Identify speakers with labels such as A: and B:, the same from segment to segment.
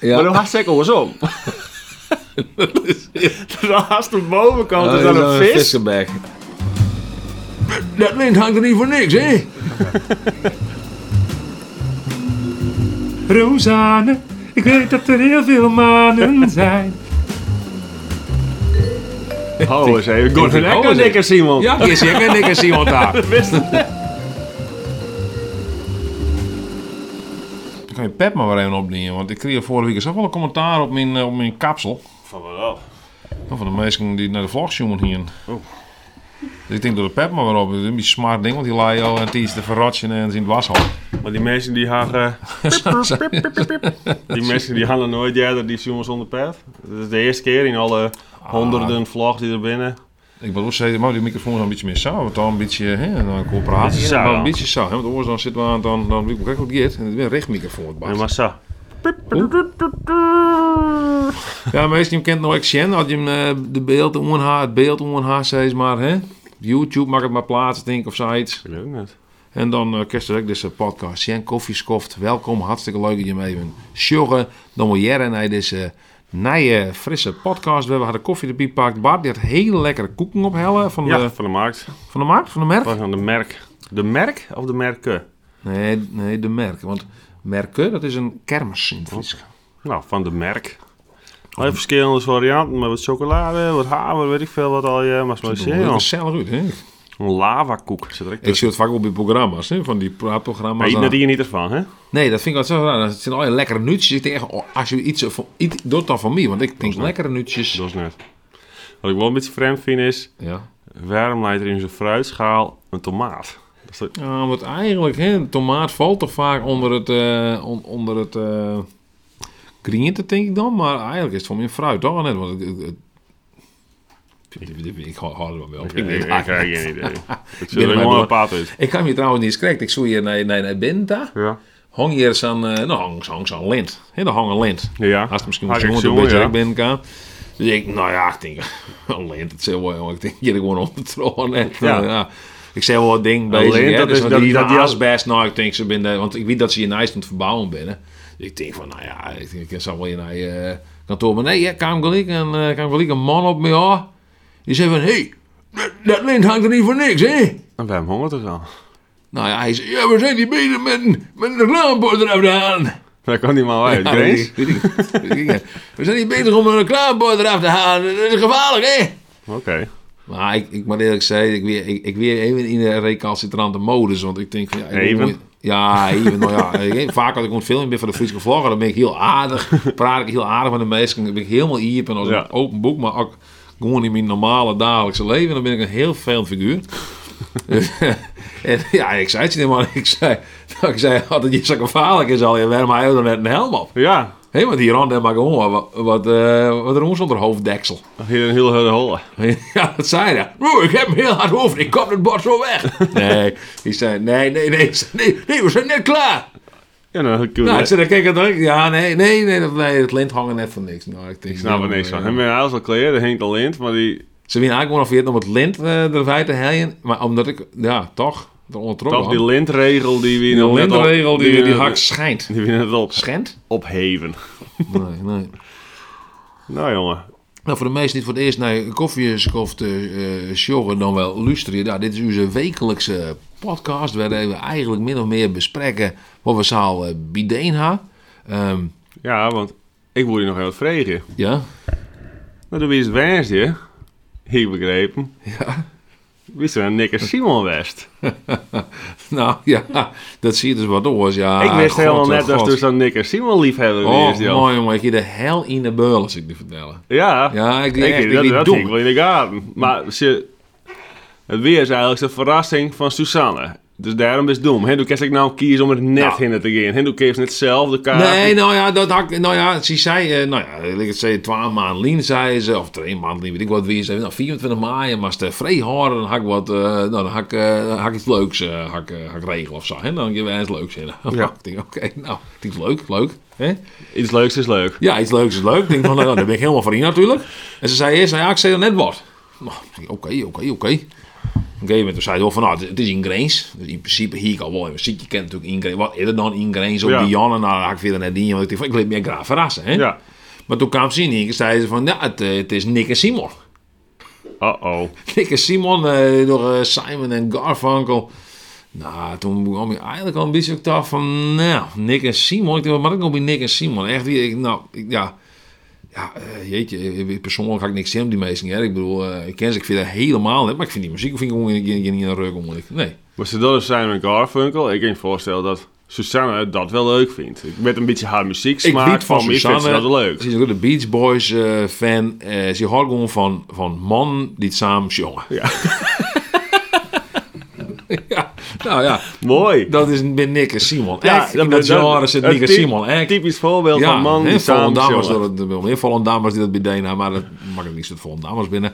A: Ja.
B: Maar dan haast ik andersom. Dan haast de bovenkant is dan
A: Oh,
B: een
A: zo'n
B: vis.
A: vissenbek. Dat lint hangt er niet voor niks, hè?
C: Rosanne, ik weet dat er heel veel manen zijn.
B: Hou eens even. Goed,
A: vind-
B: lekker
A: hou eens
B: dikker, Simon.
A: Ja, je zeker niks als iemand daar.
B: Wist het.
D: Dan kan je Pep maar weer even opnemen. Want ik kreeg vorige week zelf wel een commentaar op mijn, eh, op mijn kapsel.
B: Van wel.
D: Van de mensen die naar de vlog zoomen hier. Dus ik denk door de Pep maar weer op. Dat is een beetje smart ding, want die laai al een tijdje te verrotsen en zien het washok.
B: Maar die mensen die hangen... die mensen die hangen nooit eerder die jongens zonder pet. Dat is de eerste keer in alle honderden vlogs die er binnen.
D: Ik wil ook zeggen, maar die microfoon is een beetje meer saai. Want dan een beetje, hè, dan een corporatie.
B: Beetje saai,
D: maar een
B: ja.
D: beetje saai. hè, Want anders dan zitten we aan, dan, dan weet ik ook niet. En het is een recht microfoon. het
B: Ja,
D: bast.
B: maar zo.
D: Ja, meestal je kent nou nog Xen, als je hem eh, de beeld onhaar, het beeld onhaar, zeg maar, hè? YouTube mag het maar plaatsen, denk ik, of zoiets.
B: Ik weet ook net.
D: En dan eh kerst ook deze podcast. Xen Koffieskoft, welkom, hartstikke leuk dat je mee bent. Sjogge, dan wil jij naar deze nieuwe, eh, frisse podcast. We hebben hadden koffie erbij gepakt. Bart die had hele lekkere koeken ophellen van,
B: Ja,
D: de,
B: van de markt.
D: van de markt, van de merk.
B: Van de merk. De merk of de merken?
D: Nee, nee, de merk. Want merken, dat is een kermis in het Fries.
B: Nou, van de merk. Allerlei verschillende varianten met wat chocolade, wat haver, weet ik veel wat al je maar zo
D: Dat is
B: zien.
D: gezellig uit, hè?
B: Een lavakoek zit er echt
D: Ik
B: tussen.
D: zie het vaak op bij programma's, hè? Van die
B: Maar
D: praatprogramma's.
B: eet
D: dan-
B: net hier niet ervan, hè?
D: Nee, dat vind ik altijd zo raar. Het zijn al je lekkere nutjes. Ik denk echt, oh, als je iets, van- iets doet dan van mij, want ik denk lekkere nutjes.
B: Dat is net. Wat ik wel een beetje vreemd vind is,
D: Ja.
B: waarom leidt er in zo'n fruitschaal een tomaat? Dat is toch-
D: ja, want eigenlijk, hè, een tomaat valt toch vaak onder het, eh on- onder het eh grinieten, denk ik dan. Maar eigenlijk is het voor mij een fruit, toch? Net, want het, het- het- ik, ik, ik hou hou er wel wel.
B: Ik, ik, ik, heb geen idee. Ik
D: ben
B: zit
D: er
B: er
D: maar
B: gewoon
D: door.
B: een paard uit.
D: Ik kan je trouwens niet eens krijgen. Ik zoek hier naar, naar, naar Benta.
B: Ja.
D: Hang hier zo'n, eh, nou, hang, hang zo'n lint. Hè, daar hangt een lint.
B: Ja.
D: Haast misschien
B: Haak
D: wel
B: ik
D: jongen,
B: zo,
D: een beetje
B: ja.
D: ik ben kan. Dus ik, nou ja, ik denk, een lint, dat is heel mooi, jongen. Ik denk, je gewoon ondertroon. Ja.
B: Ja.
D: Eh, ja. Ik zei wel wat ding bij
B: lint,
D: dat
B: dat
D: is
B: is-
D: dat,
B: dat-
D: die,
B: dat-
D: dat
B: die-
D: asbest, nou, ik denk, ze binnen, want ik weet dat ze in IJsland verbouwen binnen. Dus ik denk van, nou ja, ik denk, ik zou wel hier naar je eh, kantoor. Maar nee, ja, kwam gelijk een, eh, kwam gelijk een man op me af. Die zei van, hé, hey, dat, dat lint hangt er niet voor niks, hè?
B: En waarom hongert er dan?
D: Nou ja, hij zei, ja, we zijn hier bezig met, een- met een reclamebord eraf te halen.
B: Daar kan die man uit.
D: Ja,
B: Grace?
D: Oh, weet ik- weet ik- weet ik. We zijn niet bezig om een reclamebord eraf te halen. Dat is gevaarlijk, hè?
B: Oké.
D: Maar ik, ik moet eerlijk zeggen, ik weer, ik, ik weer even in de recalcitrante modus. Want ik denk van... Ja, ik
B: Even?
D: moet- ja, even. Nou ja, ik- vaak als ik een film ben van de Friese vlogger, dan ben ik heel aardig. Praat ik heel aardig met de mensen. Dan ben ik helemaal iep en als
B: Ja.
D: een open boek. Maar ook gewoon in mijn normale dagelijkse leven, dan ben ik een heel veel figuur. en ja, ik zei het je niet, maar ik zei... Ik zei altijd, je zo gevaarlijk is al. Ja, waarom hij dan net een helm op?
B: Ja.
D: Hé, want die randen maar gewoon wat, wat, eh wat roes onder hoofddeksel.
B: Hier een heel hele holle.
D: ja, dat zei hij. Oh, ik heb hem heel hard over. Ik kap het bord zo weg. nee, hij zei, nee, nee, nee, nee, nee, we zijn net klaar.
B: Ja, dan kun
D: Nou, ik
B: je...
D: zei, dan kijk ik het ook. Ja, nee, nee, nee, dat, nee, het lint hangen net van niks. Nou, ik denk,
B: Ik snap er niks van. Hij heeft alles al clear, er hangt al lint, maar die...
D: Ze willen eigenlijk gewoon of je het om het lint eh erbij te helden. Maar omdat ik, ja, toch, er ondertrokken
B: Toch die
D: had.
B: lintregel die we
D: Die
B: nog net op-
D: lintregel die, die,
B: we net-
D: hak schijnt.
B: Die we net op,
D: Schijnt?
B: opheven.
D: Nee, nee.
B: Nou jongen,
D: Nou, voor de meesten die het voor het eerst naar koffie is of te sjoggen, eh, dan wel luisteren. Nou, dit is onze wekelijkse podcast waarin we eigenlijk min of meer bespreken wat we zaal eh, bideen ha. Ehm,
B: ja, want ik wil je nog heel wat vragen.
D: ja,
B: Nou, toen is het Wensje, ik begrepen. Ja. Wist er een nikker Simon West?
D: nou ja, dat zie je dus wat oors. Ja,
B: ik wist
D: God,
B: helemaal
D: oh,
B: net dat
D: God.
B: er zo'n nikker Simon liefhebber
D: Oh,
B: is. joh.
D: mooi jongen, ik je de hel in de beul als ik die vertellen.
B: Ja,
D: Ja, ik- echt, ik
B: dat,
D: liep
B: dat
D: dom.
B: ik wel in de gaten. Maar ze, het weer is eigenlijk de verrassing van Susanne. Dus daarom is het dom. Hè? Toen kan ik nou kiezen om het net
D: Nou.
B: in te gaan. Hè? Toen kreeg ze net zelf de kaart.
D: Nee, nou ja, dat had ik- nou ja, ze zei, eh, nou ja, ik zei, twaalf maanden lien, zei ze, of twee maanden lien, weet ik wat, wie zei, nou, 24 maai, maar als het eh, vrij hard, dan had ik wat, eh, nou, dan had ik, eh, dan had ik iets leuks, eh had ik, eh, had ik regelen of zo, hè, dan je wel iets leuks in. ik denk, oké, nou, iets leuk, leuk, hè.
B: Iets leuks is leuk.
D: Ja, iets leuks is leuk. Ik denk, nou, nou, daar ben ik helemaal voor in natuurlijk. En ze zei eerst, nou ja, ik zei er net wat. Nou, ik denk, oké, oké, oké. een gegeven moment zei hij wel van, nou, het- het is ingrains. Dus in principe hier ik al wel in muziek. Je kent natuurlijk ingrains. Wat is er dan ingrains op
B: Ja.
D: die Janne? Nou, daar had ik weer net in. Want ik dacht van, ik liet me graag verrassen, hè.
B: Ja.
D: Maar toen kwam ze in en zei ze van, ja, het, eh, het is Nick en Simon.
B: Uh-oh.
D: Nick en Simon eh, door eh, Simon en Garfunkel. Nou, toen kwam ik eigenlijk al een beetje op af van, nou, Nick en Simon. Ik dacht, maar ik kom bij Nick en Simon. Echt, die- ik, nou, ik- ja... Ja, eh, jeetje, eh, persoonlijk had ik niks in op die meesten. hè. Ik bedoel, eh, ik ken ze, ik vind dat helemaal net. Maar ik vind die muziek vind ik gewoon geen- geen- geen ruk moeilijk. Nee.
B: Was het dan Simon Garfunkel? Ik kan je voorstellen dat Susanne dat wel leuk vindt. Met een beetje haar muzieksmaak
D: weet
B: van mij vindt ze dat leuk.
D: Ze is ook de Beach Boys eh, fan. Eh, ze houdt gewoon van, van man die het samen jongen.
B: Ja.
D: ja, nou ja,
B: Mooi.
D: dat is met Nick en Simon.
B: Ja,
D: Echt, in dat genre zit
B: een
D: Nick en
B: typ-
D: Simon. Echt.
B: Typisch voorbeeld van man die
D: hè,
B: samen
D: Volendamers
B: chillen.
D: door het- wel meer Volendamers die dat bededen, maar dat mag ik niet zo Volendamers binnen.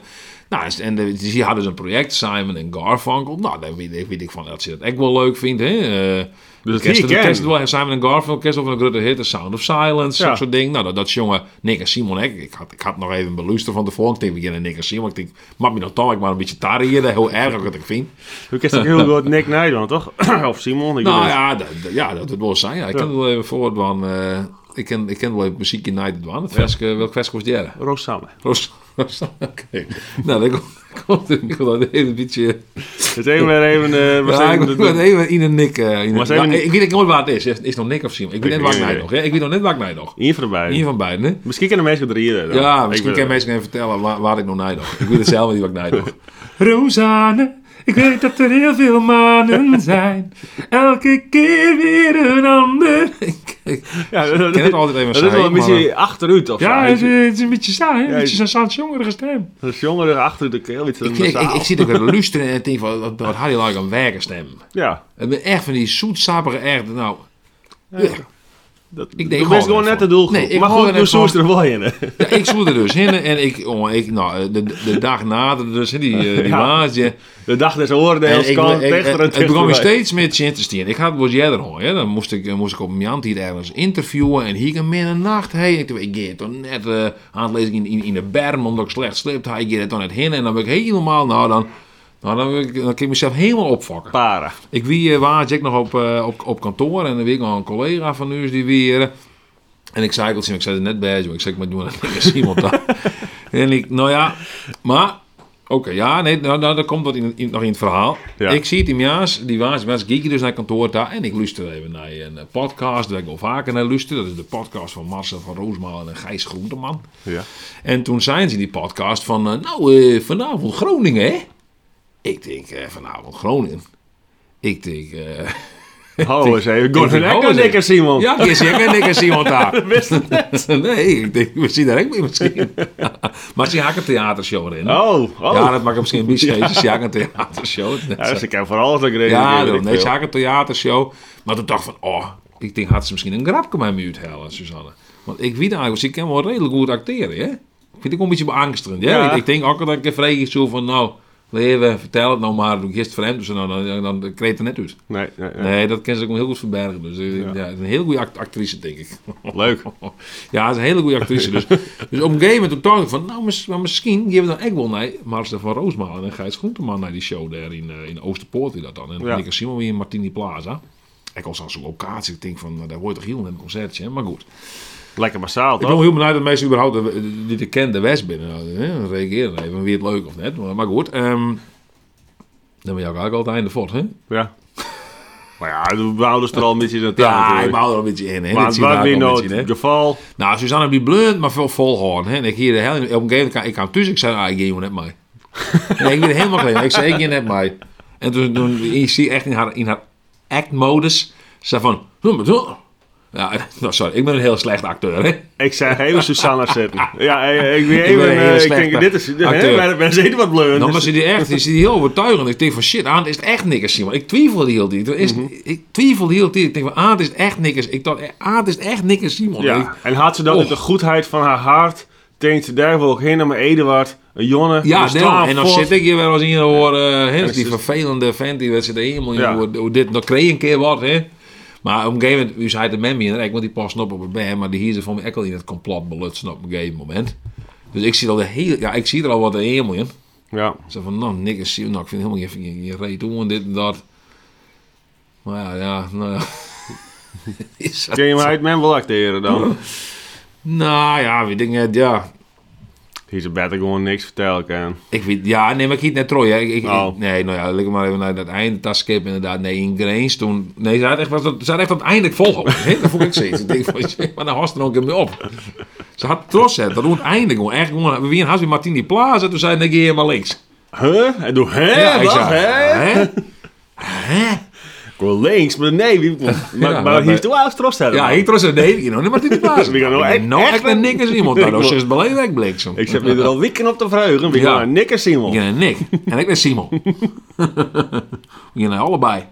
D: Nou, en de, die hadden ze een project, Simon en Garfunkel. Nou, daar weet, ik- weet ik van dat ze dat echt wel leuk vindt. Hè? Eh,
B: Dus
D: kerst-
B: die
D: de kerst-
B: ken.
D: wel Simon en Garfunkel, kerst of een grote hit, The Sound of Silence,
B: Ja.
D: dat soort dingen. Nou, dat, dat jongen Nick en Simon, ik, ik, had, ik had nog even beluisterd van tevoren. Ik denk, we beginnen Nick en Simon. Ik denk, mag me nog toch ik maar een beetje tarieren, heel erg wat ik vind.
B: Hoe kent ook heel goed Nick Nijland, toch? of Simon, ik weet
D: Nou
B: het.
D: ja, dat, dat- ja, dat het wel zijn. Ja. Ik ken wel even voor het van, eh, ik ken, ik ken wel even muziek in Night Het Veske, welk veske was die er?
B: Rosanne.
D: Roos- Roos- Oké. Nou, dan komt het ik wil dat even beetje...
B: Het even weer even... eh,
D: Ja,
B: we
D: ik
B: zijn de-
D: wil dat even in een nik. eh, in een-
B: Was even-
D: Nou, ik weet nooit waar het is. Is het nog nik of Simon? Ik weet net
B: Ik
D: waar ik
B: weet
D: naar
B: niet.
D: nog. hè. Ik weet nog net waar ik naar nog.
B: Hier voorbij.
D: Een van beiden, hè?
B: Misschien kunnen mensen drieën. dan.
D: Ja,
B: Ik
D: misschien
B: weet
D: kan
B: het.
D: mensen even vertellen waar, waar ik nog naar nog. Ik weet het zelf niet waar ik naar nog.
C: Rosanne, ik weet dat er heel veel manen zijn. Elke keer weer een ander.
B: Ja, dat,
D: ken het altijd even
B: dat is wel
D: saai,
B: een
D: maar-
B: beetje achteruit of
C: Ja,
B: zo.
C: het, is- het is een beetje saai, hè?
B: Ja,
C: Een
B: je-
C: beetje zo'n Saans jongere stem.
B: Dat is jongeren achteruit de keel. Iets
D: Ik, ik, ik, ik zit ook te luisteren en ik denk eh, van, wat, wat had je lang aan werken stemmen?
B: Ja,
D: En ben echt van die zoetsappige, echt, nou...
B: dat,
D: denk
B: ik
D: gewoon
B: ben gewoon
D: net
B: net de
D: van-
B: doelgroep.
D: Nee, ik
B: maar
D: hou
B: goed,
D: er
B: nu
D: net
B: zoest
D: van.
B: er wel in. hè.
D: Ja, ik zoer er dus heen en ik, oh, ik nou, de, de dag nader dus, hè, die, eh, die
B: Ja.
D: maatje.
B: De dag des
D: En
B: oordeels
D: ik-
B: kan
D: ik- ik-
B: tegen
D: Het begon me steeds meer zin te stien. Ik had het wel eerder hoor. hè. Dan moest ik, eh, moest ik op Miant hier ergens interviewen. En hier een middernacht. Hey, ik dacht, ik ga het toch net eh, aan het lezen in, in, in de berm. Omdat ik slecht slipt. Hij gaat het toch net heen. En dan ben ik helemaal... Nou, dan, nou, dan, ben ik, dan kan ik mezelf helemaal opvakken.
B: Para.
D: Ik wie eh, waar ik nog op, eh, op, op kantoor en dan weer nog een collega van ons die weer. eh, En ik zei ook tegen hem, ik zei het net bij jou, ik zei ik maar doen dat is iemand daar. en ik, nou ja, maar oké, ja, nee, nou, nou, dat komt wat in, in- nog in het verhaal.
B: Ja.
D: Ik zie het in Jaas, die waas, mensen kieken dus naar kantoor daar en ik luister even naar een eh, podcast, waar ik wel vaker naar luister. Dat is de podcast van Marcel van Roosmalen en Gijs Groenteman.
B: Ja.
D: En toen zijn ze in die podcast van, eh, nou, eh, vanavond Groningen, hè? Ik denk, eh, vanavond Groningen. Ik denk, eh,
B: Hou eens even. Gordon
D: Ik- ik-
B: Ekker, dikke Simon.
D: ja, ik zie ik niks iemand daar. nee, ik denk, we zien daar ook mee misschien. maar ze haken een theatershow erin.
B: Oh, oh.
D: Ja, dat maakt misschien een beetje geest. Ze haken een theatershow.
B: Ja, dus ik heb voor alles dat ik reageer,
D: Ja,
B: weet
D: daarom.
B: ik
D: nee, ze
B: veel.
D: haken een theatershow. Maar toen dacht ik van, oh, ik denk, had ze misschien een grapje met me uithalen, Suzanne. Want ik weet eigenlijk, ze kan wel redelijk goed acteren, hè? Vind ik wel een beetje beangstigend, hè?
B: Ja.
D: Ik, ik denk ook dat ik een vreemd zo van, nou, leven, vertel het nou maar, doe ik eerst vreemd, dus dan, dan, dan, dan kreeg het er net uit.
B: Nee, nee, nee.
D: Nee, dat kan ze ook heel goed verbergen. Dus eh, ja. een heel goede act- actrice, denk ik.
B: Leuk.
D: Oh. ja, ze is een hele goede actrice. Dus, dus op een gegeven moment toen dacht ik van, nou, mis- maar misschien geven we dan echt wel naar Marcel van Roosmalen en Gijs Groenteman naar die show daar in, eh, in Oosterpoort. Die dat dan. En
B: Ja.
D: Nick en Simon weer in Martini Plaza. Ik was aan zo'n locatie. Ik denk van, nou, daar hoort toch heel net een concertje, hè? maar goed.
B: Lekker massaal,
D: Ik ben
B: toch?
D: wel heel benieuwd dat mensen überhaupt de- die de kende West binnen nou, hè? reageren even wie het leuk of net. Maar, maar goed, ehm, dan ben je ook eigenlijk altijd einde fort, hè?
B: Ja. Maar ja, we houden ze er al een beetje in de taal
D: Ja, ik
B: natuurlijk.
D: hou er een beetje in. Hè?
B: Maar
D: Dit
B: het
D: zien we
B: was
D: ook
B: weer
D: al een
B: nooit
D: beetje in, hè.
B: het geval.
D: Nou, Suzanne die blunt, maar veel volhouden. Hè? En ik hier de hele, op een gegeven moment, kwam- ik kwam thuis, ik zei, ah, ik ging net mee. nee, ik ben er helemaal klaar. Ik zei, ik ging net mee. En toen, toen je ziet echt in haar, in haar act-modus, ze van, "Doe maar, doe." ja, nou, sorry, ik ben een heel slecht acteur, hè.
B: Ik zei even Susanna zetten. Ja, ik, ik,
D: Ik ben
B: even,
D: een hele
B: eh, ik
D: slechte
B: denk, dit is... hè,
D: acteur.
B: wij- Wij zitten wat bleun.
D: Nou, maar
B: dus-
D: ze die echt, ze die heel overtuigend. Ik denk van, shit, aan is het echt niks, Simon. Ik twijfelde heel die. Toen Is,
B: Mhm.
D: Ik twijfelde heel die. Ik denk van, aan het is echt niks. Ik dacht, aan het is echt niks, Simon. Ik-
B: Ja, en had ze dan
D: Och.
B: uit de goedheid van haar hart... denkt ze daar wil ik heen naar mijn Eduard, een jongen...
D: Ja,
B: een
D: deel.
B: straal
D: en dan
B: fort.
D: zit ik hier wel eens in hoor, eh, hè,
B: het
D: die
B: is-
D: vervelende vent die zit helemaal in
B: Ja.
D: hoe, hoe dit, dan kreeg je een keer wat hè. Maar op een gegeven moment, u zei het de Memmi en ik, want die passen op op het band, maar die hier ze van mij ook al in het complot belutsen op een gegeven moment. Dus ik zie, al de hele, ja, ik zie er al wat helemaal in.
B: Ja.
D: Zo van, nou, niks zie nou, ik vind helemaal geen, geen, geen reet toe en dit en dat. Maar ja, ja, nou ja. Is dat-
B: Kun je maar uit men wel acteren dan?
D: nou ja, weet ik net, ja.
B: Hier is beter gewoon niks vertellen kan.
D: Ik weet, ja, nee, maar ik hiet net Troy, hè. Ik, ik-
B: Oh.
D: Nee, nou ja, lekker maar even naar dat einde. Dat skip inderdaad. Nee, in Grains toen... Nee, ze had echt, was dat, ze had echt op het einde volgehouden. hè. Dat vond ik steeds. Ik denk van, shit, maar dan had er ook meer op. Ze had trots, hè. Dat doen het einde gewoon. Echt gewoon, we weer een Martini Plaza. Toen zei ik, nee, helemaal links.
B: Huh? En doe hè?
D: ik
B: Wat?
D: zei,
B: hè?
D: hè? Hè?
B: Ik wil links, maar nee. Wie, maar maar,
D: maar-
B: hier is de wel trots hebben.
D: Ja, ik trots en nee, ik nog niet Martini Plaza.
B: We gaan nou echt-
D: nog
B: echt-
D: echt een niks iemand.
B: Ik
D: Dat is
B: wil-
D: dus belangrijk, bliksem.
B: Ik zet me er al wikken op te verheugen. We
D: Ja.
B: gaan naar Nikker Simon.
D: Ik ben Nick. En ik ben Simon. We gaan allebei.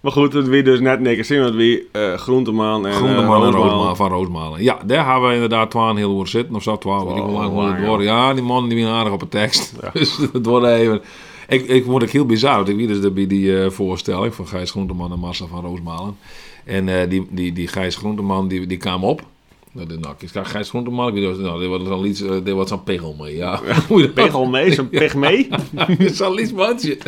B: Maar goed, het weer dus net Nikker Simon. Het weer eh, Groenteman en eh,
D: Groenteman en
B: Roosman.
D: Roosmalen, van Roosmalen. Ja, daar hebben we inderdaad twaalf heel uur zitten. Of zo, twaalf, weet ik hoe lang wordt het worden. Ja, die man die weer aardig op de tekst. Dus het wordt even... Ik, ik vond het heel bizar, want ik weet dus dat bij die eh, voorstelling van Gijs Groenteman en Marcel van Roosmalen. En eh, die, die, die Gijs Groenteman, die, die kwam op. Nou, dit- nou, ik zag Gijs Groenteman, ik weet niet, nou, dit was zo'n lied, eh, dit was zo'n pegel mee, ja. Hoe je dat-
B: Pegel mee, zo'n peg mee.
D: Zo'n lies mandje.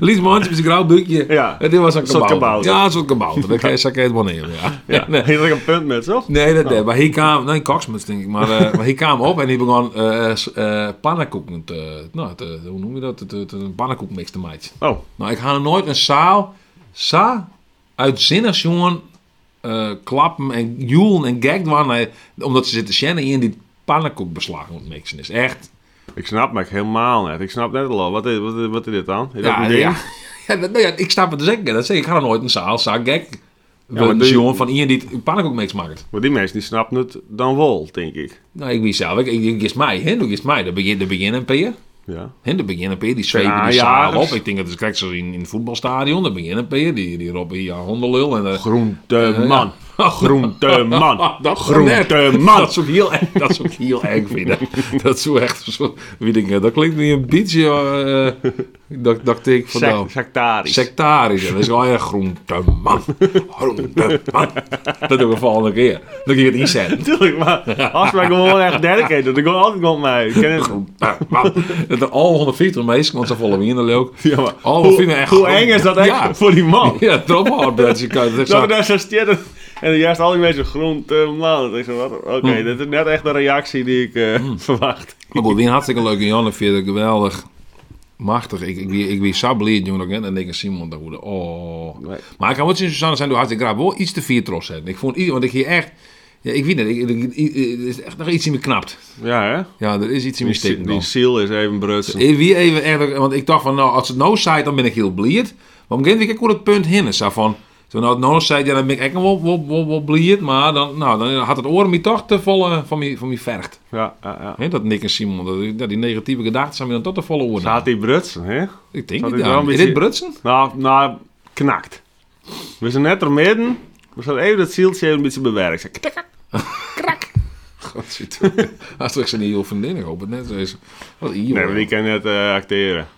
D: Lies mandje met zijn grauw buikje.
B: Ja.
D: En dit was een
B: Zo'n
D: kabouter.
B: kabouter.
D: Ja, zo'n kabouter. Dat kan je zeker het wel nemen, ja. eh,
B: Ja,
D: Nee.
B: nee. Heeft er ook een punt met, toch?
D: Nee, dat
B: Nou.
D: deed. Maar hij kwam, nee, koksmuts denk ik, maar, eh, maar hij kwam op en hij begon eh, s- eh, pannenkoeken te, nou, te- hoe noem je dat, te, te, te- een pannenkoekmix te maken.
B: Oh,
D: Nou, ik ga nog nooit een zaal zo uitzinnig jongen eh, klappen en joelen en gagd waren, eh, omdat ze zitten schennen in die pannenkoekbeslag moet mixen. is echt,
B: ik snap me echt helemaal net. Ik snap net al. Wat is, wat is, wat is dit dan? Is dat
D: ja,
B: een ding?
D: ja. Ja, dat- nou ja, ik snap het te zeggen. Dat zeg ik, ik ga nog nooit een zaal zo gag.
B: maar
D: Ja,
B: doe je-
D: jongen van iemand die het pannenkoekmix maakt.
B: Maar die mensen die snappen het dan wel, denk ik.
D: Nou, ik weet zelf, ik, ik, ik is mij, hè, ik is mij. Dat begin, dat begin een peer.
B: Ja.
D: Hè, de beginnen Peer, die zweven
B: Ja,
D: die
B: ja,
D: zaal
B: dus-
D: op. Ik denk dat het krijgt zoals in, in het voetbalstadion. De beginnen Peer, die, die roepen hier hondenlul. En, eh,
B: Groenteman. Groenteman.
D: dat
B: Groenteman.
D: Dat zou ik heel eng, dat zou ik heel eng vinden. Dat zou echt zo... Weet ik, eh, dat klinkt niet een beetje... eh, dat, dat denk ik van nou...
B: Sec- Sectarisch.
D: Sectarisch. Dat is wel een groenteman. Groenteman. Dat doen we volgende keer. Dan kun je het inzetten.
B: Tuurlijk, maar als wij gewoon echt dedicated, dan komt altijd iemand mee. Ik ken het.
D: Groenteman. Dat er al 150 mensen, want ze volgen me in de leuk.
B: Ja, maar
D: Oh, we
B: hoe,
D: vinden echt
B: hoe
D: groen-
B: eng is dat echt
D: Ja.
B: voor die man?
D: Ja, drop maar, dat je kan. Dat
B: Dat
D: zou-
B: er daar zo staat en- en juist al die mensen groenteman. Ik zeg, wat? Oké,
D: Hmm.
B: dit is net echt de reactie die ik eh, verwacht.
D: Maar goed, die een hartstikke leuke Jan. Ik vind het geweldig. Machtig. Ik, ik, ik, ik weer zo blij, jongen. En dan denk ik, Simon, dat goede. Oh.
B: Nee.
D: Maar ik kan wel zien, Susanne, zijn door hartstikke graag. Wel iets te vier trots zijn. Ik vond, i- want ik hier echt... Ja, ik weet het. Ik, ik- ik- er is echt nog iets in me knapt.
B: Ja, hè?
D: Ja, er is iets in me
B: Die,
D: stikken.
B: die
D: dan.
B: ziel is even brutsen.
D: Ik Wie even echt... Want ik dacht van, nou, als het nou zei, dan ben ik heel blij. Maar op een gegeven moment hoe het punt heen is. Zo van... Toen het nou zei, ja, dan ben ik echt wel, wel, wel, wel blij. Maar dan, nou, dan had het oor me toch te volle van me, van me vergt.
B: Ja, ja, ja.
D: Hè, dat Nick en Simon, dat, dat die negatieve gedachten zijn me dan tot de volle oren.
B: Gaat die brutsen, hè?
D: Ik denk
B: Zat
D: niet
B: hij
D: aan.
B: wel een
D: Is
B: beetje-
D: dit Brutsen?
B: Nou, nou, knakt. We zijn net er midden. We zijn even dat zieltje even een beetje bewerkt. Zeg, ktik, ktik.
D: Als ik ze niet heel vriendin, ik hoop het net. zo is. Wat een Oh,
B: Nee, maar die kan net eh, acteren.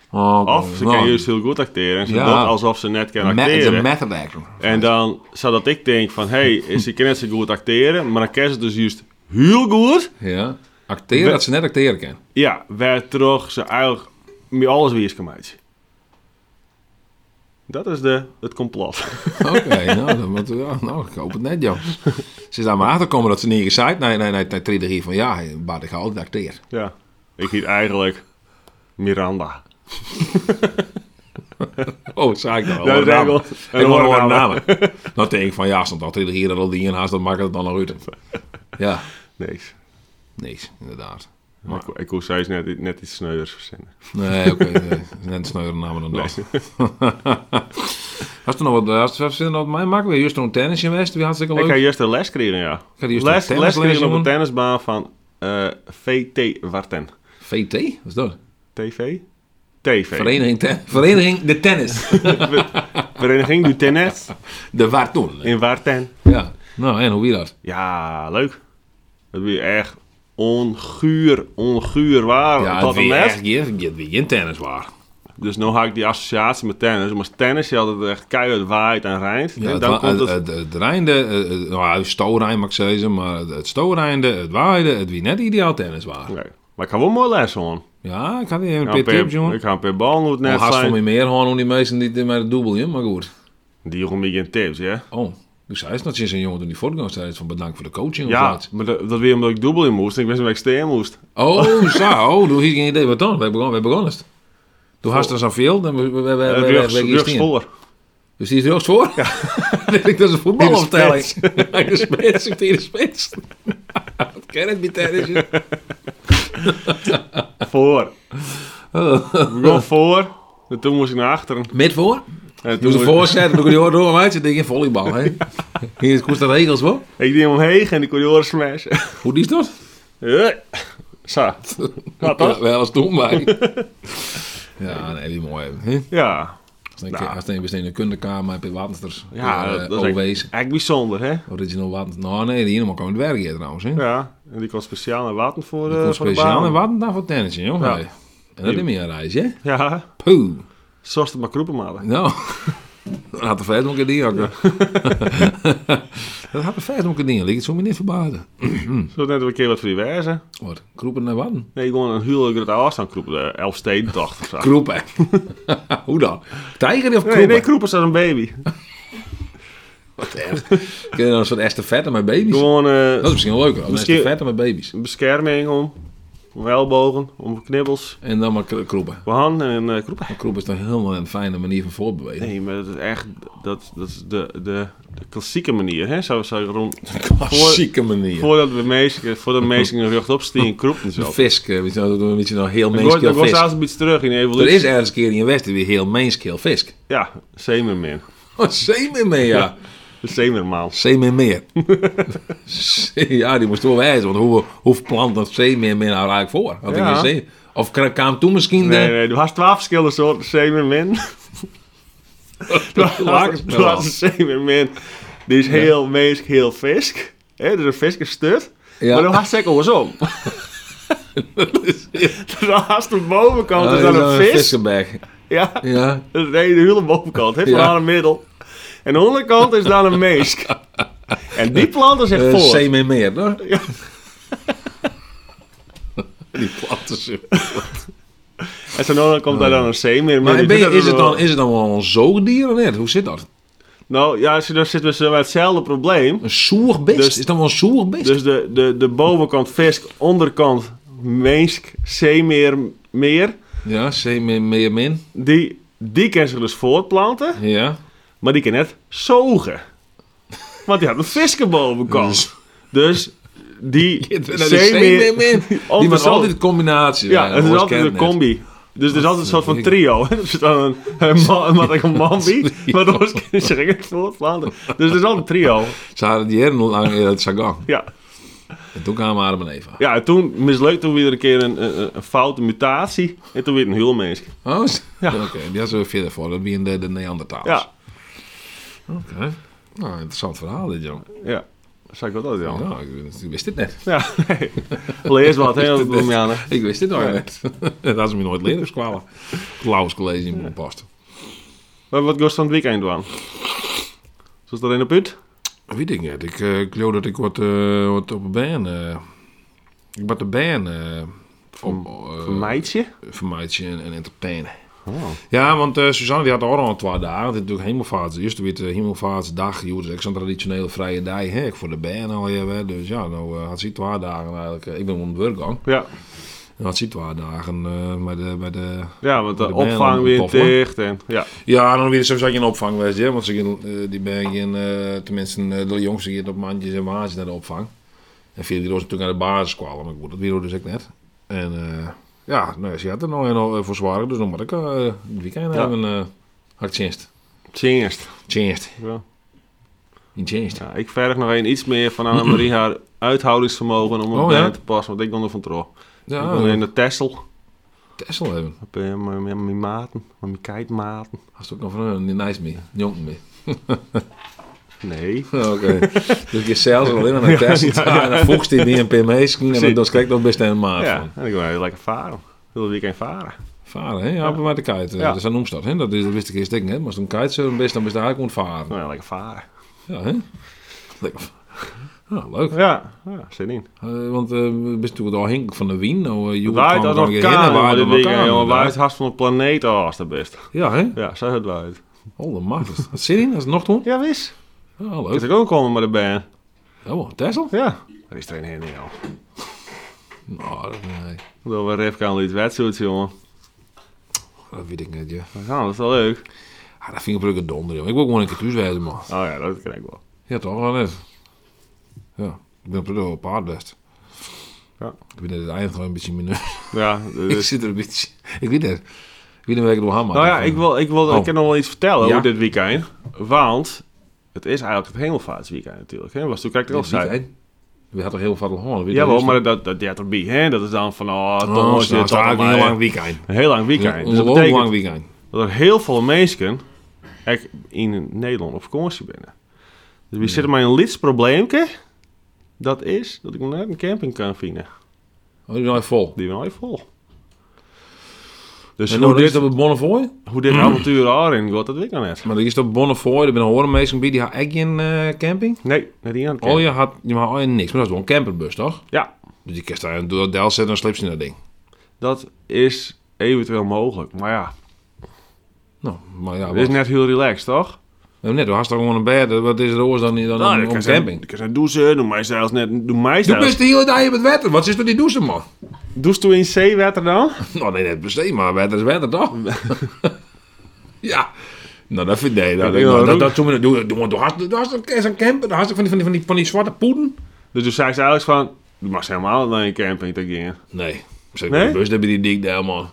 B: Of ze kan juist heel goed acteren. En ze
D: Ja.
B: doet alsof ze net kan
D: een
B: acteren.
D: method actor.
B: En dan zodat ik denk van, hé, hey, ze kan net zo goed acteren. Maar dan kan ze dus juist heel goed.
D: Ja. Acteren dat ze net acteren kan.
B: Ja, waar toch ze eigenlijk met alles weer is gemaakt. Dat is de, het complot.
D: Oké, nou, dan moet- ja, nou, ik hoop het net, joh. Ze is daar maar achterkomen dat ze niet gezegd. Nee, nee, nee, nee, treden hier van ja, Bart, ik ga altijd acteren.
B: Ja. Ik heet eigenlijk Miranda.
D: Oh, zei ik dan.
B: Ja, dat is
D: namen.
B: eigenlijk wel-
D: Ik hoor
B: een
D: gewoon
B: namen.
D: namen. Dan denk ik van ja, stond altijd hier en al die en haast, dat maakt het dan nog uit. Ja,
B: Nee.
D: niks, inderdaad.
B: Maar ik, ik hoef zelfs net, net iets sneuders verzinnen.
D: Nee, oké. nee. Net sneuwer namen dan dat. Als er nog wat, als er verder nog wat mij maken, we juist nog een tennis in West, wie hartstikke
B: Ik ga
D: leuk.
B: juist een les krijgen, ja.
D: ga juist
B: les,
D: een
B: les
D: tennisles
B: krijgen op een
D: doen.
B: tennisbaan van eh, VT Warten.
D: VT, wat is dat?
B: TV? TV.
D: Vereniging, ten, Vereniging de Tennis.
B: Vereniging du Tennis
D: De Waartoen.
B: in Warten.
D: Ja. Nou, en hoe wie dat?
B: Ja, leuk. Dat is echt onguur, onguur waar.
D: Ja,
B: tot
D: het
B: en
D: weer
B: met.
D: echt geen, geen, geen tennis waar.
B: Dus nu haak ik die associatie met tennis. Maar tennis, je had het echt keihard waait en rijdt.
D: Ja,
B: en
D: het,
B: dan
D: wa-
B: komt
D: het,
B: het...
D: het, het reinde, eh, eh, nou, stoorijn mag ik zeggen, maar het, het stoorrijnde, het waaide, het wie net ideaal tennis waar.
B: Nee. Maar ik ga wel een mooi les hoor.
D: Ja, ik had niet even een
B: Ik
D: paar tips, jongen.
B: Ik ga een paar ballen uit
D: Al
B: net
D: haast van mij
B: zijn.
D: meer gewoon om die mensen die met het dubbel, hè, maar goed.
B: Die jongen die geen tips, ja?
D: Oh, dus hij is dat sinds een jongen toen die voortgang zei van bedankt voor de coaching of
B: Ja,
D: wat.
B: maar dat, dat weer omdat ik dubbel in moest en ik wist niet waar ik steen moest.
D: Oh, zo, oh, toen had ik geen idee wat dan. We begonnen, we begonnen het. Toen had er zoveel, dan we- we- we- we-
B: Eh,
D: we-
B: Rechts
D: we- we-
B: rechts
D: we-
B: voor.
D: Dus die is rechts voor? Ja. dat is een voetbalopstelling. In de spits, ik tegen de spits. Dat ken ik niet dus- tijdens
B: Voor. Ik begon voor. En toen moest ik naar achteren.
D: Met voor?
B: En
D: Je
B: toen
D: moest een
B: moest-
D: voorzet, dan kon je door hem uit. Je denkt, volleybal, hè. Hier kost dat regels, hoor.
B: Ik deed hem omheen en ik kon die oren smashen.
D: Hoe die is dat?
B: Ja. Zo. Gaat
D: Ja,
B: dat?
D: wel eens toen, maar... Ja, nee, die mooi. hè.
B: Ja.
D: Als een keer- Als een besteed in de kundekamer heb je Watensters.
B: Nou. Ja,
D: eh,
B: dat, dat is
D: OW's.
B: eigenlijk, eigenlijk bijzonder, hè?
D: Original Watten. Nou, nee, die helemaal kwam het werk hier trouwens. Hè?
B: Ja. En die kwam speciaal naar water voor,
D: Die
B: eh,
D: komt
B: voor de
D: speciaal
B: baan.
D: en Watten daar voor tennis, joh.
B: Ja.
D: Hey. En dat is meer een reis, hè?
B: Ja.
D: Poeh.
B: Zoals het maar kroepen maken.
D: Nou, dat had de vijf nog een keer hakken. dat had de vijf nog een keer dingen. Ik het zo me niet verbazen.
B: Zo net een keer wat voor die wijzen.
D: Wat? Kroepen naar Watten?
B: Nee, gewoon een huwelijk dat afstand kroepen. Eh, De Elfstedentocht of zo.
D: Kroepen. Hoe dan? Tijger of kroepen?
B: Ah. Nee, nee, kroepen is als een baby.
D: Kun je dan een soort estafette met baby's?
B: Gewoon eh,
D: Dat is misschien wel leuker. Een
B: Misschien-
D: estafette met baby's.
B: bescherming om, om ellebogen, om knibbels,
D: En dan maar kro- kroepen.
B: voor handen en eh, kroepen.
D: Maar Kroepen is dan helemaal een fijne manier van voortbewegen.
B: Nee, maar dat is echt dat, dat is de, de, de klassieke manier, hè? Zo, zo rond,
D: Klassieke manier.
B: voordat we meesten, voordat meesten een rug opstaan, kroepen ze
D: Een
B: op.
D: Fisk, eh, weet je nou, een beetje nou heel
B: Dan wordt-
D: mainscale
B: dan wordt
D: fisk.
B: zelfs een beetje terug in de
D: Er
B: evolutie.
D: is ergens een keer in Westen weer heel mainscale fisk.
B: Ja, zeemermin.
D: Oh, zeemermeer, ja.
B: De zeemermaal.
D: Zeemermeer. ja, die moest wel wijzen, want hoe, hoe plant dat zeemermeer nou eigenlijk voor? Had
B: Ja.
D: ik geen zee. Of kra- kwam toen misschien
B: Nee,
D: de...
B: nee, er was twaalf verschillende soorten zeemermin. Er was een zeemermin. Die is heel meesk, heel fisk. Hè, dus een fisk is stut.
D: Ja.
B: Maar dan was het andersom. Dus als de bovenkant is dan een vis.
D: vissenberg.
B: Ja,
D: Ja.
B: dat is de hele bovenkant. Hè,
D: Ja.
B: van aan een middel. En de onderkant is dan een meesk. En die plant is echt
D: Eh,
B: voor.
D: Zeemermeer, hoor. die planten ze.
B: En zo dan komt daar dan een zeemermin.
D: Maar
B: Die
D: ben je-
B: doet dat
D: is, het
B: wel.
D: dan, is het dan wel een zoogdier of niet? Hoe zit dat?
B: Nou ja, ze- daar zitten we zo bij hetzelfde probleem.
D: Een zoerbest?
B: Dus-
D: is dat wel een zoerbest?
B: Dus de, de, de bovenkant visk, onderkant meensk, zeemeer, meer.
D: ja, zeemermeermin.
B: Die, die kan zich dus voortplanten,
D: Ja.
B: maar die kan net zogen. Want die had een viskenbovenkant. Dus die
D: Kind, nou, de zeemeermin. Die was
B: Andersom.
D: altijd een combinatie.
B: Ja, het is
D: hoor,
B: altijd
D: kent
B: een
D: net.
B: combi. Dus er is altijd een soort van trio. hè. Er zit dan een, een, man, een, man- een mambi, maar dan kunnen ze zich echt voortplanten. Dus er is altijd een trio.
D: Ze hadden die heren lang in het Sagan.
B: Ja.
D: En toen kwamen Adam en Eva.
B: Ja, en toen mislukt toen weer een keer een, een, een foute mutatie. En toen weer een huwelmees.
D: Oh, is-
B: Ja.
D: oké. Die hadden ze verder voor. Dat waren de, de Neandertalers.
B: Ja,
D: Oké. Nou, interessant verhaal dit, jong.
B: ja. Zag ik dat altijd al.
D: Ja, ik, ik wist dit net.
B: Ja, nee. Lees wat, hè, Bloemianen.
D: Ik wist dit nog net. dat hadden ze me nooit leren op school. Het Lauwers College in Bonpast.
B: Maar wat gaat van het weekend doen? Zoals dat in de put?
D: Weet ik niet. Ik, eh, ik geloof dat ik wat, eh, wat op de baan... eh, ik wat de baan... eh, op, eh,
B: Een meidje? Oh.
D: vermijden en, en entertainen. Ja, want eh, Suzanne die had ook al twee dagen. Het is natuurlijk hemelvaarts. Eerst eh, weer de hemelvaartsdag. joh, Dat is echt zo'n traditionele vrije dag. Hè, ook voor de band al hebben. Dus ja, nou eh, had ze twee dagen eigenlijk. eh, ik ben op de gang.
B: Ja.
D: Dan had ze twee dagen eh, bij de... Bij de
B: ja, want de
D: Ik ben
B: opvang
D: een
B: weer
D: toffer.
B: dicht. En, ja.
D: ja, dan weer sowieso in opvang geweest. Hè, want ze gingen, eh, die ben je tenminste eh, de jongste keer op mandjes en waasjes naar de opvang. En veel die was natuurlijk aan de basis kwamen. Maar goed, dat weer dus ik net. En eh, ja, nou, ze had er nog een eh, voor zwaar. Dus dan moet ik eh, het weekend
B: Ja.
D: hebben. eh had ik chance.
B: Tjinst.
D: Changed.
B: Ja.
D: In changed.
B: Ja, ik verg nog een iets meer van Annemarie haar uithoudingsvermogen om op
D: Oh,
B: bij
D: ja?
B: te passen. Want ik kon er van trouw. ik
D: Ja,
B: kon in
D: ja
B: de Tessel.
D: Tesla hebben.
B: Op eh, mijn mijn- mijn maten. Met mijn kijkmaten.
D: Als ook nog van eh, een nice mee. Jongen mee.
B: Nee.
D: Oké. dus je zelfs alleen maar naar Tesla. En dan voegst hij die een paar meesken. En dan- dan krijg ik nog best een maat
B: Ja,
D: van.
B: en ik wil heel lekker varen. Heel weekend varen.
D: Varen, hè? Ja, op maar de kite.
B: Ja.
D: Dat is een omstad, hè? Dat, is, dat wist ik eerst denk hè? Maar als een kite zo best, dan best eigenlijk ontvaren.
B: Nou ja, lekker varen.
D: Ja, hè? Lekker. Ah, leuk.
B: Ja, ja zit in.
D: Eh, want eh, we zijn natuurlijk afhankelijk van de wien. Nou, uh,
B: Waait uit elkaar, waar dit ding, jongen. Waait het hart van de planeet als dat best.
D: Ja, hè?
B: Ja, zo het waait.
D: Holle macht. Wat zit in? Dat is nog toen?
B: Ja, wist.
D: Ah,
B: Dat
D: leuk.
B: is ook komen met de band.
D: Oh, Tesla?
B: Ja. Er is er een heen, joh.
D: Nou, dat- nee.
B: Dat we Rivka aan iets wedstrijd, jongen.
D: Dat weet ik niet, ja.
B: Ja, dat is wel leuk.
D: Ah, dat vind ik een donder, jongen. Ik wil gewoon een keer thuis wezen, man.
B: Oh ja, dat krijg ik wel.
D: Ja, toch wel net. Ja, ik ben prettig op paardbest.
B: Ja.
D: Ik ben het eigenlijk wel een beetje minder.
B: Ja,
D: ik
B: dus.
D: zit er een beetje. Ik weet het. Ik weet niet waar ik het door gaan
B: Nou ja, ik, wil, ik, wil,
D: Oh.
B: ik kan nog wel iets vertellen
D: Ja?
B: over dit weekend. Want het is eigenlijk het hemelvaartsweekend natuurlijk. Hè? Was toen kijk ik al zei.
D: We hadden heel veel honger.
B: Jawel, maar dat, dat, dat erbij. Hè? Dat is dan van, oh,
D: Dus Oh,
B: Tom,
D: zo, het
B: dit,
D: is eigenlijk een
B: allemaal,
D: heel
B: hè.
D: lang weekend.
B: Een heel lang
D: Ja,
B: weekend.
D: een
B: Dus dat
D: heel lang
B: betekent
D: weekend.
B: dat er heel veel mensen echt in Nederland op vakantie binnen. Dus we zitten maar in een lids probleemke. Dat is dat ik nog net een camping kan vinden.
D: Oh, die zijn vol.
B: Die ben al vol. Dus
D: En
B: hoe
D: nou, is
B: dit,
D: dat op Bonnefoy?
B: hoe dit avontuur daarin gaat, dat weet ik nog net.
D: Maar dat is op Bonnefoy. Er ben een horen mensen bij die had echt geen eh, camping.
B: Nee, net die aan het
D: Oh, je had, je had al je niks. Maar dat is wel een camperbus, toch?
B: Ja,
D: Dus je kan daar door het deel zetten en sleep je in dat ding.
B: dat is eventueel mogelijk. Maar
D: Ah,
B: ja,
D: Nou, maar ja,
B: het is
D: wat-
B: net heel relaxed, toch?
D: Nou, net, we hadden toch gewoon een bed. Wat is er oors dan, dan
B: Nou,
D: om, om camping?
B: Ik kan zijn douchen, doe mij zelfs net... Doe mij
D: Doe
B: zelfs...
D: best de hele dag in het wetter. Wat is er die douchen, man?
B: Douche toen in zeewater dan?
D: Nou, nee, net per se, maar wetter is wetter, toch? ja. Nou, dat vind ik... Nee, dat,
B: Ja,
D: nou,
B: dat-
D: dat, dat doen we niet. Doe- doe- doe- Doe doe- doe- doe- zo'n camper. Dan had ik van die, van, die, van, die, van die zwarte poeden.
B: Dus toen zei ze eigenlijk van... Je mag helemaal naar een camping te gaan.
D: Nee. Zeker
B: Nee?
D: nee? bus, daar ben je die dik daar, man.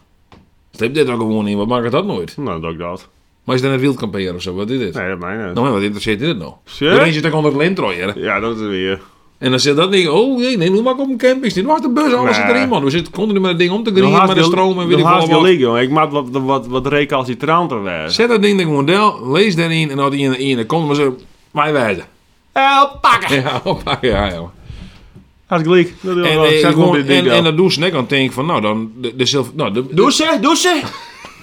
D: Sleep dit ook gewoon in. Wat maakt dat nooit?
B: Nou, dat ik dat.
D: Maar is dat een wild kamperen of zo? Wat is dit?
B: Nee, dat mij niet.
D: Nou, maar wat interesseert dit nou?
B: Serieus?
D: Dan zit ik onder het lintrooien.
B: Ja, dat is weer.
D: En dan zit dat ding, oh nee, nee, hoe maak ik op een camping zitten? Waar is de bus? Alles
B: Nee.
D: zit erin, man. We zitten continu met dat ding om te grieven, met de stroom en weet ik
B: ik
D: veel wat.
B: jongen. Ik maak wat, wat, wat recalcitranter weg.
D: Zet dat ding in het model, lees daarin en als die in, in dan komt maar zo, mij wijzen.
B: Help, pakken!
D: Ja, oppakken, ja, ja.
B: Als ik leek. Dat doe ik
D: En,
B: wel.
D: eh,
B: Ik zet gewoon
D: gewoon-
B: dit
D: en,
B: ding
D: en
B: dan.
D: dat doe ze net, dan denk ik van, nou dan, de, de zilver, nou, de, de,
B: Douchen, douchen!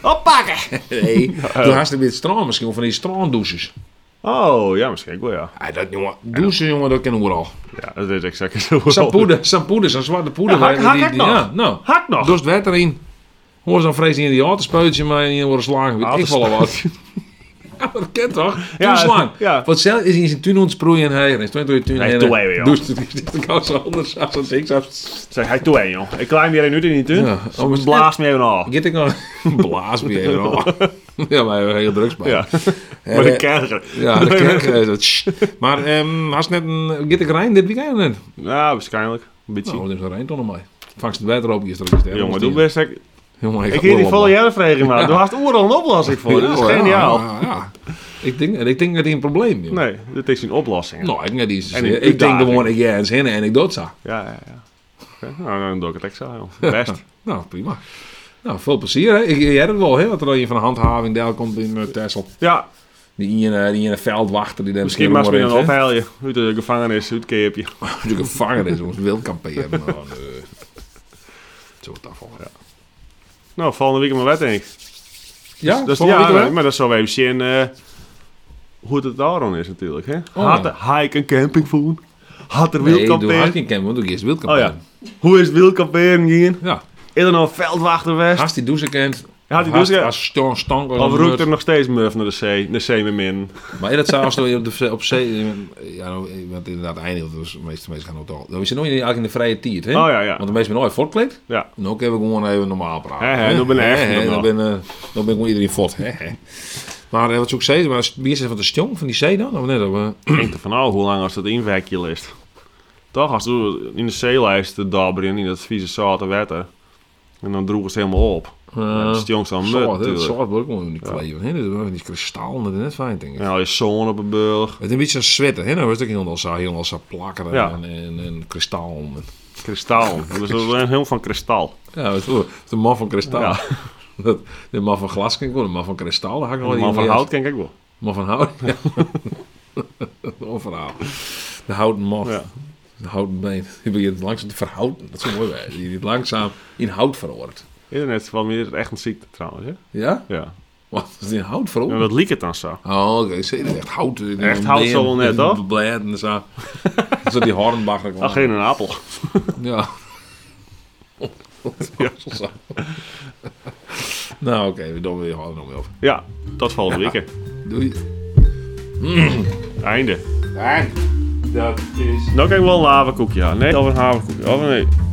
B: Oppakken!
D: nee, toen had ze weer het strand misschien, of van die strandouches.
B: Oh, ja, misschien ook wel, ja.
D: Ah, dat jongen, douchen jongen, dat kennen we al.
B: Ja, dat is exact zo.
D: Sampoeder, sampoeder, zo'n zwarte poeder.
B: Ja, hak-
D: waar- die-
B: hak ik
D: die-
B: nog.
D: Ja, nou.
B: Hak nog.
D: Doe het wet erin. Hoor ze dan vrees in die autospeutje maar en die worden slagen. Weet ik wel wat. Ja, maar dat kent toch?
B: Ja,
D: Ja, slang.
B: ja.
D: Want zelf is in zijn tuin ontsproeien en hij is 22 tuin.
B: Nee, doe hij weer, joh.
D: Dus dit is ook zo anders als dat ik zou.
B: Zeg, hij toe heen, joh. Ik klein weer een uur in die tuin.
D: Ja, oh, maar-
B: Blaas me even af.
D: Git ik nog blaas me even al. Ja, maar hij heeft heel drugs bij.
B: Ja.
D: Eh,
B: Maar de kerger.
D: Ja, de kerk eh, is het. Sst. Maar ehm had ze net een Git ik Rijn dit weekend net?
B: Ja, nou, waarschijnlijk. Een beetje.
D: Nou, dat is een Rijnton mij. Vangst het water op gisteren.
B: Jongen, doe best. Ik
D: eh, Jongen,
B: ik
D: ga
B: hier die
D: oorlog
B: volle jaren maar. Daar had oorlog een oplossing voor. Dat is
D: Ja,
B: geniaal.
D: Ja, ja. Ik denk, ik denk dat hij een probleem heeft.
B: Nee, dit is een oplossing.
D: Nou, ik, net iets,
B: En een
D: ik denk
B: uitdaging.
D: gewoon dat ik ergens heen en ik dood zou.
B: Ja, ja, ja. Oké, Nou, dan doe ik het extra, joh. Best.
D: Nou, prima. Nou, veel plezier. Hè. Ik, jij hebt het wel, hè? Wat er dan hier van de handhaving daar komt in eh, Texel.
B: ja,
D: Die ene, die ene veldwachter die daar
B: misschien maar weer een opheilje. eh, Uit de gevangenis, uit het keerpje.
D: Als je gevangen is, jongens, wil kamperen. Nou, nee. Zo wat daarvan. Ja,
B: Nou, volgende week maar wat, denk ik.
D: ja,
B: Dat is,
D: volgende
B: Dus- ja,
D: week wel?
B: maar dat zal we even zien eh, hoe het daarom is natuurlijk, hè. Had,
D: ja.
B: had ik een campingvoer? Had er
D: Nee, doe
B: wildkamperen?
D: hartstikke campen, want doe ik eerst
B: oh
D: wildkamperen.
B: ja. Hoe is het wildkamperen hier?
D: ja.
B: Is er nog een veldwachter west?
D: Haast die douche kent.
B: Had die douche kent.
D: Als stank- stank als
B: Of
D: een
B: roept
D: mut.
B: er nog steeds murf naar de zee, naar zee met min?
D: Maar in het zou als je op, de, op zee, ja, nou, want inderdaad eindigt, dus de meeste mensen gaan op de hal. We zitten nooit eigenlijk in de vrije tiert, hè?
B: Oh, ja, ja.
D: Want de meesten zijn nooit voortkleed.
B: Ja.
D: En ook hebben we gewoon even normaal praten.
B: Hè, hè,
D: hè?
B: dan ben ik
D: Hè,
B: echt
D: hè,
B: normaal.
D: dan ben, eh, dan ben ik gewoon iedereen fort. hè, hè. Maar eh, wat zou ik zeggen, maar wie is het van de stjong, van die zee dan? Of net, of, eh,
B: Denk er van, oh, hoe lang als dat inwerkje ligt? Toch, als we in de zeelijst te dabberen in dat vieze zoute wetter. En dan droegen ze helemaal op.
D: eh,
B: Ja, dat is het jongste aan mut
D: zwart, hè? Het
B: natuurlijk.
D: zwart wordt ook gewoon in die kleven, hè? Dus wel die kristal, dat is net fijn, denk ik.
B: En al je zon op een burg,
D: Het is een beetje een zwetten, hè? Nou, was het ook heel zo, heel zo plakken
B: Ja.
D: en, en, en kristal.
B: kristal. Dus dat is helemaal van kristal.
D: Ja, het is de man van kristal.
B: Ja.
D: Dat, de man van glas kan ik worden, de man van kristal. Daar hak ik nog
B: De
D: wel
B: man
D: iets
B: van
D: mee
B: hout ken ik ook wel.
D: af. Man van hout. Ja. Een verhaal. De houten man.
B: Ja.
D: De houten been. Die begint langzaam te verhouden. Dat is zo mooi bij. Die wordt langzaam in hout verhoort.
B: Internet van meer echt een ziekte trouwens, hè?
D: Ja?
B: Ja.
D: Wat is die in hout
B: En
D: verhoord?
B: wat liek het dan zo?
D: Oh, oké. Zie je, Echt hout.
B: Echt hout zal wel net, toch?
D: Blad en zo. Dan zit die Hornbach er
B: Ach,
D: gewoon.
B: geen een appel.
D: Ja. nou, oké, we doen weer gewoon nog wel over.
B: Ja, dat valt wikken.
D: Doei.
B: Einde.
C: Dat is
B: Nou kijk wel een haverkoekje aan. Nee, of een haverkoekje. Of nee.